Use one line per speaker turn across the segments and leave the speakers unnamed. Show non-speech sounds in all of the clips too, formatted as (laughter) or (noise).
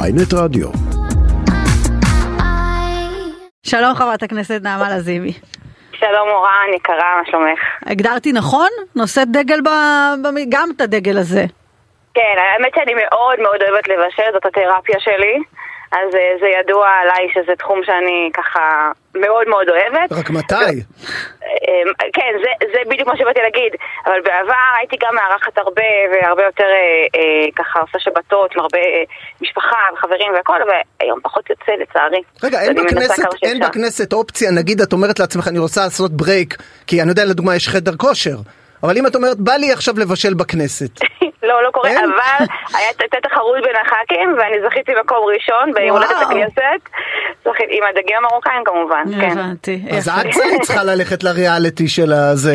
ויינט רדיו.
שלום חברת הכנסת נעמה לזימי.
שלום אורן, יקרה, מה שלומך?
הגדרתי נכון? נושאת דגל ב... במ- גם את הדגל הזה.
כן, האמת שאני מאוד מאוד אוהבת לבשל, זאת התרפיה שלי. אז אה, זה ידוע עליי שזה תחום שאני ככה מאוד מאוד אוהבת.
רק מתי?
אמ, כן, זה, זה בדיוק מה שבאתי להגיד, אבל בעבר הייתי גם מארחת הרבה והרבה יותר אה, אה, ככה עושה שבתות עם הרבה אה, משפחה וחברים והכל, והיום פחות יוצא לצערי.
רגע,
אז
אין
אני מנסה
בכנסת,
כמה
אין
שאפשר.
בכנסת אופציה, נגיד את אומרת לעצמך אני רוצה לעשות ברייק, כי אני יודע לדוגמה יש חדר כושר, אבל אם את אומרת בא לי עכשיו לבשל
(laughs)
בכנסת,
לא, לא קורה,
כן.
אין?
אבל היה- הייתה תחרות בין הח"כים ואני זכיתי מקום ראשון בהולדת
וואו.
הכנסת, זכיתי- עם הדגים המרוקאים כמובן, כן.
הבנתי.
אז
יפה.
את זה צריכה ללכת לריאליטי של הזה,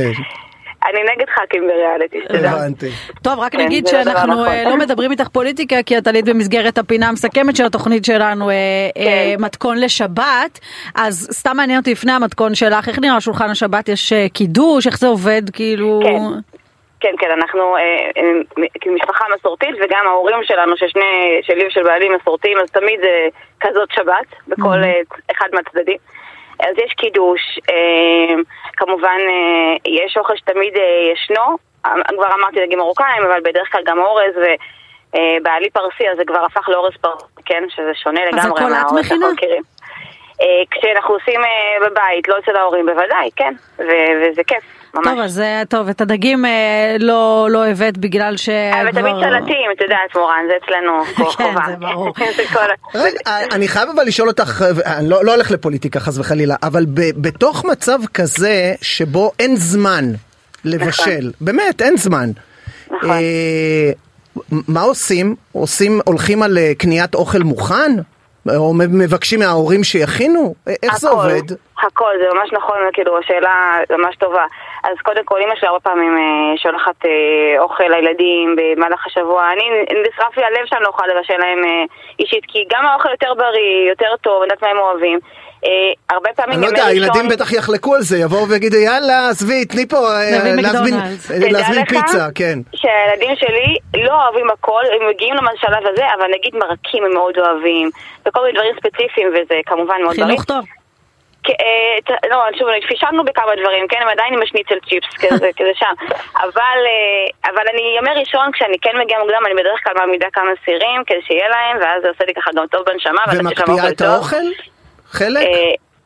אני נגד ח"כים בריאליטי, שתדע.
הבנתי.
טוב, רק
כן,
נגיד
זה הדבר
שאנחנו
הנכון.
אה, לא מדברים איתך פוליטיקה, כי את עלית במסגרת הפינה המסכמת של התוכנית שלנו, אה, אה,
כן.
מתכון לשבת. אז סתם מעניין אותי לפני המתכון שלך, איך נראה שולחן השבת? יש אה, קידוש? איך זה עובד? כאילו...
כן. כן, כן, אנחנו אה, אה, כמשפחה מסורתית, וגם ההורים שלנו, ששני, שלי ושל בעלי מסורתיים, אז תמיד זה כזאת שבת, בכל אה, אחד מהצדדים. אז יש קידוש, אה, כמובן אה, יש אוכל שתמיד אה, ישנו, אה, כבר אמרתי דגים מרוקאים, אבל בדרך כלל גם אורז, ובעלי פרסי, אז זה כבר הפך לאורז פרסי, כן? שזה שונה
אז
לגמרי
הכל את
מהאורז
מכינה?
שאנחנו מכירים. אה, כשאנחנו עושים אה, בבית, לא אצל ההורים בוודאי, כן, ו- וזה כיף, ממש.
טוב, אז אה, טוב, את הדגים אה, לא לא הבאת בגלל ש...
אה, אבל תמיד סלטים, את יודעת מורן, זה
(laughs)
אצלנו פה
אה, כן,
חובה.
זה ברור.
(laughs) זה כל-
רגע, אה, אני חייב אבל לשאול אותך, אני לא, לא הולך לפוליטיקה חס וחלילה, אבל ב, בתוך מצב כזה שבו אין זמן לבשל,
נכון.
באמת אין זמן,
נכון.
אה, מה עושים? עושים, הולכים על אה, קניית אוכל מוכן? אה, או מ- מבקשים מההורים שיכינו? אה, איך זה
הכל,
עובד?
הכל, זה ממש נכון, כאילו, השאלה ממש טובה. אז קודם כל, אימא שלי הרבה פעמים אה, שולחת אה, אוכל לילדים במהלך השבוע. אני, נשרף לי הלב שאני לא יכולה לבשל להם אה, אישית, כי גם האוכל יותר בריא, יותר טוב, אני יודעת מה הם אוהבים. אה, הרבה פעמים
אני לא
ימי
יודע,
ראשון-
הילדים בטח יחלקו על זה, יבואו ויגידו יאללה, עזבי, תני פה, אה,
נביא
להזמין-
מקדונלדס."
אה, להזמין
תדע לך
פיצה, כן.
שהילדים שלי לא אוהבים הכל, הם מגיעים למה לשלב הזה, אבל נגיד מרקים הם מאוד אוהבים, וכל מיני דברים ספציפיים, וזה כמובן מאוד בריא.
חינוך טוב.
כן, אה, ת- לא, שוב, פישלנו בכמה דברים, כן, הם עדיין עם השניצל צ'יפס, כזה, כזה שם. אבל, אה, אבל אני, ימי ראשון, כשאני כן מגיעה מוקדם, אני בדרך כלל מעמידה כמה סירים כדי שיהיה להם, ואז זה עושה לי ככה גם טוב בנשמה. ואני חושבת שהאוכל
ומקפיאה את
טוב.
האוכל? חלק?
אה,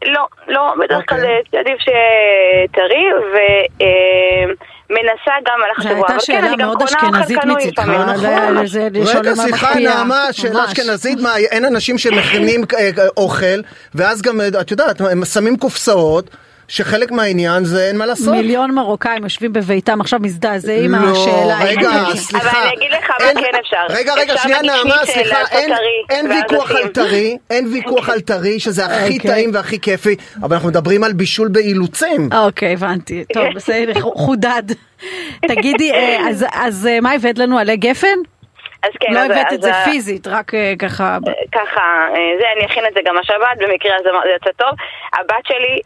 לא, לא, בדרך כלל
אוקיי.
אה, עדיף שטרי, ומנסה גם במהלך
זו
השבוע.
הייתה
אבל כן,
שאלה
אני גם
מאוד
קונה אוכל
אשכנזית
קנוי
מצדך,
לפעמים,
לא
נכון.
יודע, לזה- לשאול
רגע,
למה
סליחה
מקפיאה.
נעמה, שאלה
ממש.
אשכנזית, מה, אין אנשים שמכינים אה, אה, אוכל, ואז גם, אה, את יודעת, הם שמים קופסאות, שחלק מהעניין זה אין מה לעשות.
מיליון מרוקאים יושבים בביתם עכשיו מזדעזעים
לא,
מהשאלה.
רגע,
האם-
סליחה.
אבל אני אגיד לך מה
אין-
כן אפשר.
רגע, רגע,
אפשר
שנייה
בקיצ'ית,
נעמה,
אה,
סליחה,
לעשות
אין-
טרי,
אין
ואז אוקיי.
ויכוח
עושים.
על טרי, אין ויכוח על טרי, שזה הכי
אוקיי.
טעים והכי כיפי, אבל אנחנו מדברים על בישול באילוצים.
אה.
אוקיי, הבנתי. טוב, בסדר, חודד. תגידי, אה, אז- אז אה, מה הבאת לנו עלי גפן?
אז כן,
לא
אז-
הבאת
אז
את זה
ה-
פיזית, רק אה, ככה.
ככה, אה, זה, אני אכין את זה גם השבת, במקרה הזה זה יצא טוב. הבת שלי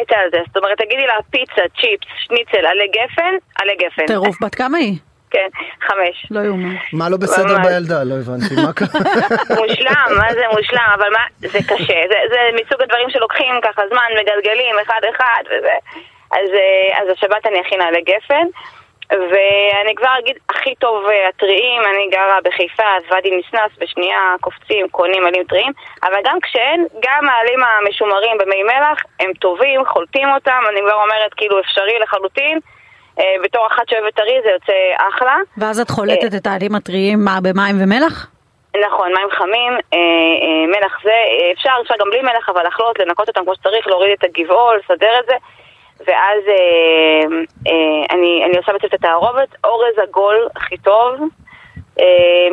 מתה על זה, זאת אומרת, תגידי לה פיצה, צ'יפס, שניצל, עלי גפן, עלי גפן.
טירוף, בת כמה היא?
כן, חמש.
לא יאומן.
מה לא בסדר
ממש.
בילדה? לא הבנתי, מה
(laughs)
קרה?
מושלם, מה זה מושלם, אבל מה, זה קשה, זה, זה מסוג הדברים שלוקחים ככה זמן, מגלגלים אחד-אחד וזה. אז, אה, אז השבת אני אכינה לגפן, ואני כבר אגיד הכי טוב אה, הטריים, אני גרה בחיפה, אז ואדי ניסנס, בשנייה קופצים, קונים עלים טריים, אבל גם כשאין, גם העלים המשומרים במי מלח, הם טובים, חולטים אותם, אני כבר אומרת כאילו אפשרי לחלוטין. אה, בתור אחת שאוהבת טרי זה יוצא אחלה.
ואז את חולטת את העלים הטריים מה, במים ומלח?
נכון, מים חמים, אה, אה, מלח זה, אה, אפשר, אפשר גם בלי מלח, אבל לחלות, לנקות אותם כמו שצריך, להוריד את הגבעול, לסדר את זה, ואז אה, אה, אני, אני עושה בעצם את התערובת, אורז עגול הכי טוב, אה,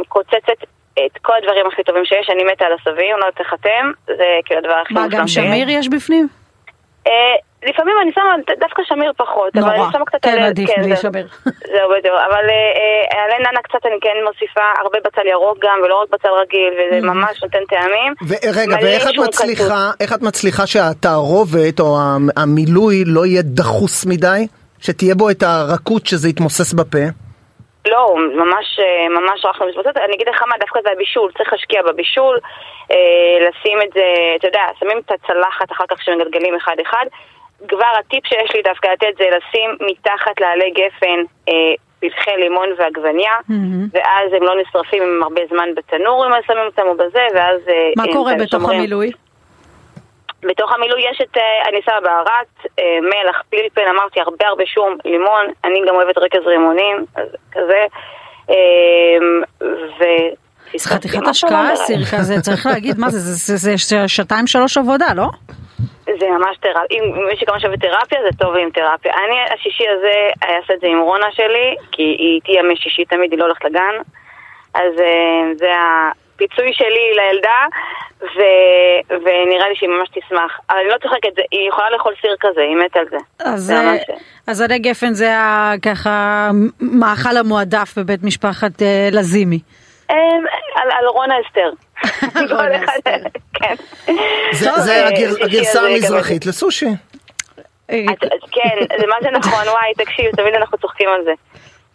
קוצצת את כל הדברים הכי טובים שיש, אני מתה על עשבים, לא יודעת איך אתם, זה כאילו הדבר הכי
מה,
מושלם
גם
שיש.
שמיר יש בפנים?
אה, לפעמים אני שמה דווקא שמיר פחות, אבל
נורא.
אני שמה קצת
כן,
עלי-
עדיף בלי
זהו.
שמיר.
זהו בדיוק, אבל אה, אה, עלי ננה קצת אני כן מוסיפה הרבה בצל ירוק גם, ולא רק בצל רגיל, וזה ממש נותן טעמים.
ורגע,
מלא
ואיך את
שום כתוב.
מצליחה, איך את מצליחה שהתערובת או המ- המילוי לא יהיה דחוס מדי? שתהיה בו את הרכות שזה יתמוסס בפה?
לא, הוא ממש, אה, ממש רך למשבצות. אני אגיד לך מה, דווקא זה הבישול, צריך להשקיע בבישול, אה, לשים את זה, אתה יודע, שמים את הצלחת אחר כך שמגלגלים אחד-אחד. כבר הטיפ שיש לי דווקא לתת זה לשים מתחת לעלי גפן אה, פרחי לימון ועגבניה,
מהמם.
ואז הם לא נשרפים הם הרבה זמן בתנור אם אז שמים אותם או בזה, ואז... אה,
מה
הם
קורה
כאן
בתוך
שומרים.
המילוי?
בתוך המילוי יש את אה, אני שמה בערת, אה, מלח, פלפל, אמרתי הרבה הרבה שום, לימון, אני גם אוהבת רכז רימונים, אז כזה. אה, ו... לא
זה חתיכת
מה קורה
השקעה
עליי?
סירקה, זה צריך להגיד, מה זה, זה- זה- זה ש- שעתיים שלוש עבודה, לא?
זה ממש תרפיה, אם מישהו גם שווה תרפיה זה טוב עם תרפיה. אני השישי הזה אני אעשה את זה עם רונה שלי, כי היא איתי ימי שישי תמיד, היא לא הולכת לגן. אז אה, זה הפיצוי שלי לילדה, ו... ונראה לי שהיא ממש תשמח. אבל אני לא צוחקת, זה- היא יכולה לאכול סיר כזה, היא מתה על זה.
אז
זה
אה,
ממש- כן.
אז עלי גפן זה ה- ככה מאכל המועדף בבית משפחת אה, לזימי.
אמ, על, על רונה
(laughs)
אסתר.
רונה
כל אחד-
אסתר.
כן.
זה
טוב,
זה
אה,
הגר-
שישי
הגרסה
הזה גם-
המזרחית לסושי.
אה,
את- את- כן, זה מה זה נכון, וואי, תקשיב, תמיד אנחנו צוחקים על זה.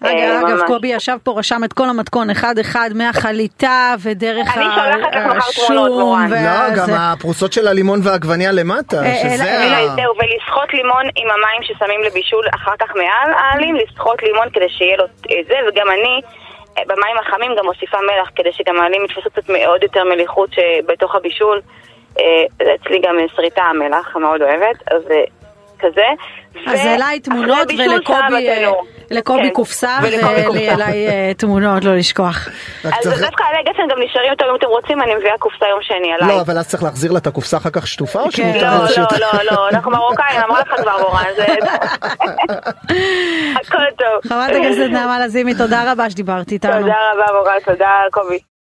אגב,
אה,
אגב,
ממש.
קובי ישב פה, רשם את כל המתכון אחד-אחד, מהחליטה ודרך
אני שולחת לך מחר
השום
תמונות, מורן.
וה-
לא, גם
זה.
הפרוסות של הלימון והעגבניה למטה,
אה,
שזה
אה,
ה...
אלא זהו, ולסחוט לימון עם המים ששמים לבישול אחר כך מעל העלים, לסחוט לימון כדי שיהיה לו את זה, וגם אני אה, במים החמים גם מוסיפה מלח כדי שגם העלים יתפסו קצת מאוד יותר מליחות שבתוך הבישול. אה, זה אצלי גם אה, שריטה המלח, מאוד אוהבת, אז אה, כזה.
אז
ו-
אליי
אחרי
תמונות
בישול, שעה
ולקובי אה,
בתנור.
לקובי
כן,
קופסה,
ולקובי
ולי
קופסה.
אליי אה, תמונות, לא לשכוח.
רק
אז
צריך-
דווקא עלי גפן גם נשארים איתו אם אתם רוצים, אני מביאה קופסה יום שני עליי.
לא, אבל אז צריך להחזיר לה את הקופסה אחר כך שטופה, או
כן.
שמותר
לא,
לה
לא,
להשאיר את
לא, לא, אנחנו מרוקאים, אמרה לך כבר מורן, זה... הכל טוב.
חברת הכנסת נעמה לזימי, תודה רבה שדיברת איתנו.
תודה רבה מורן, תודה קובי.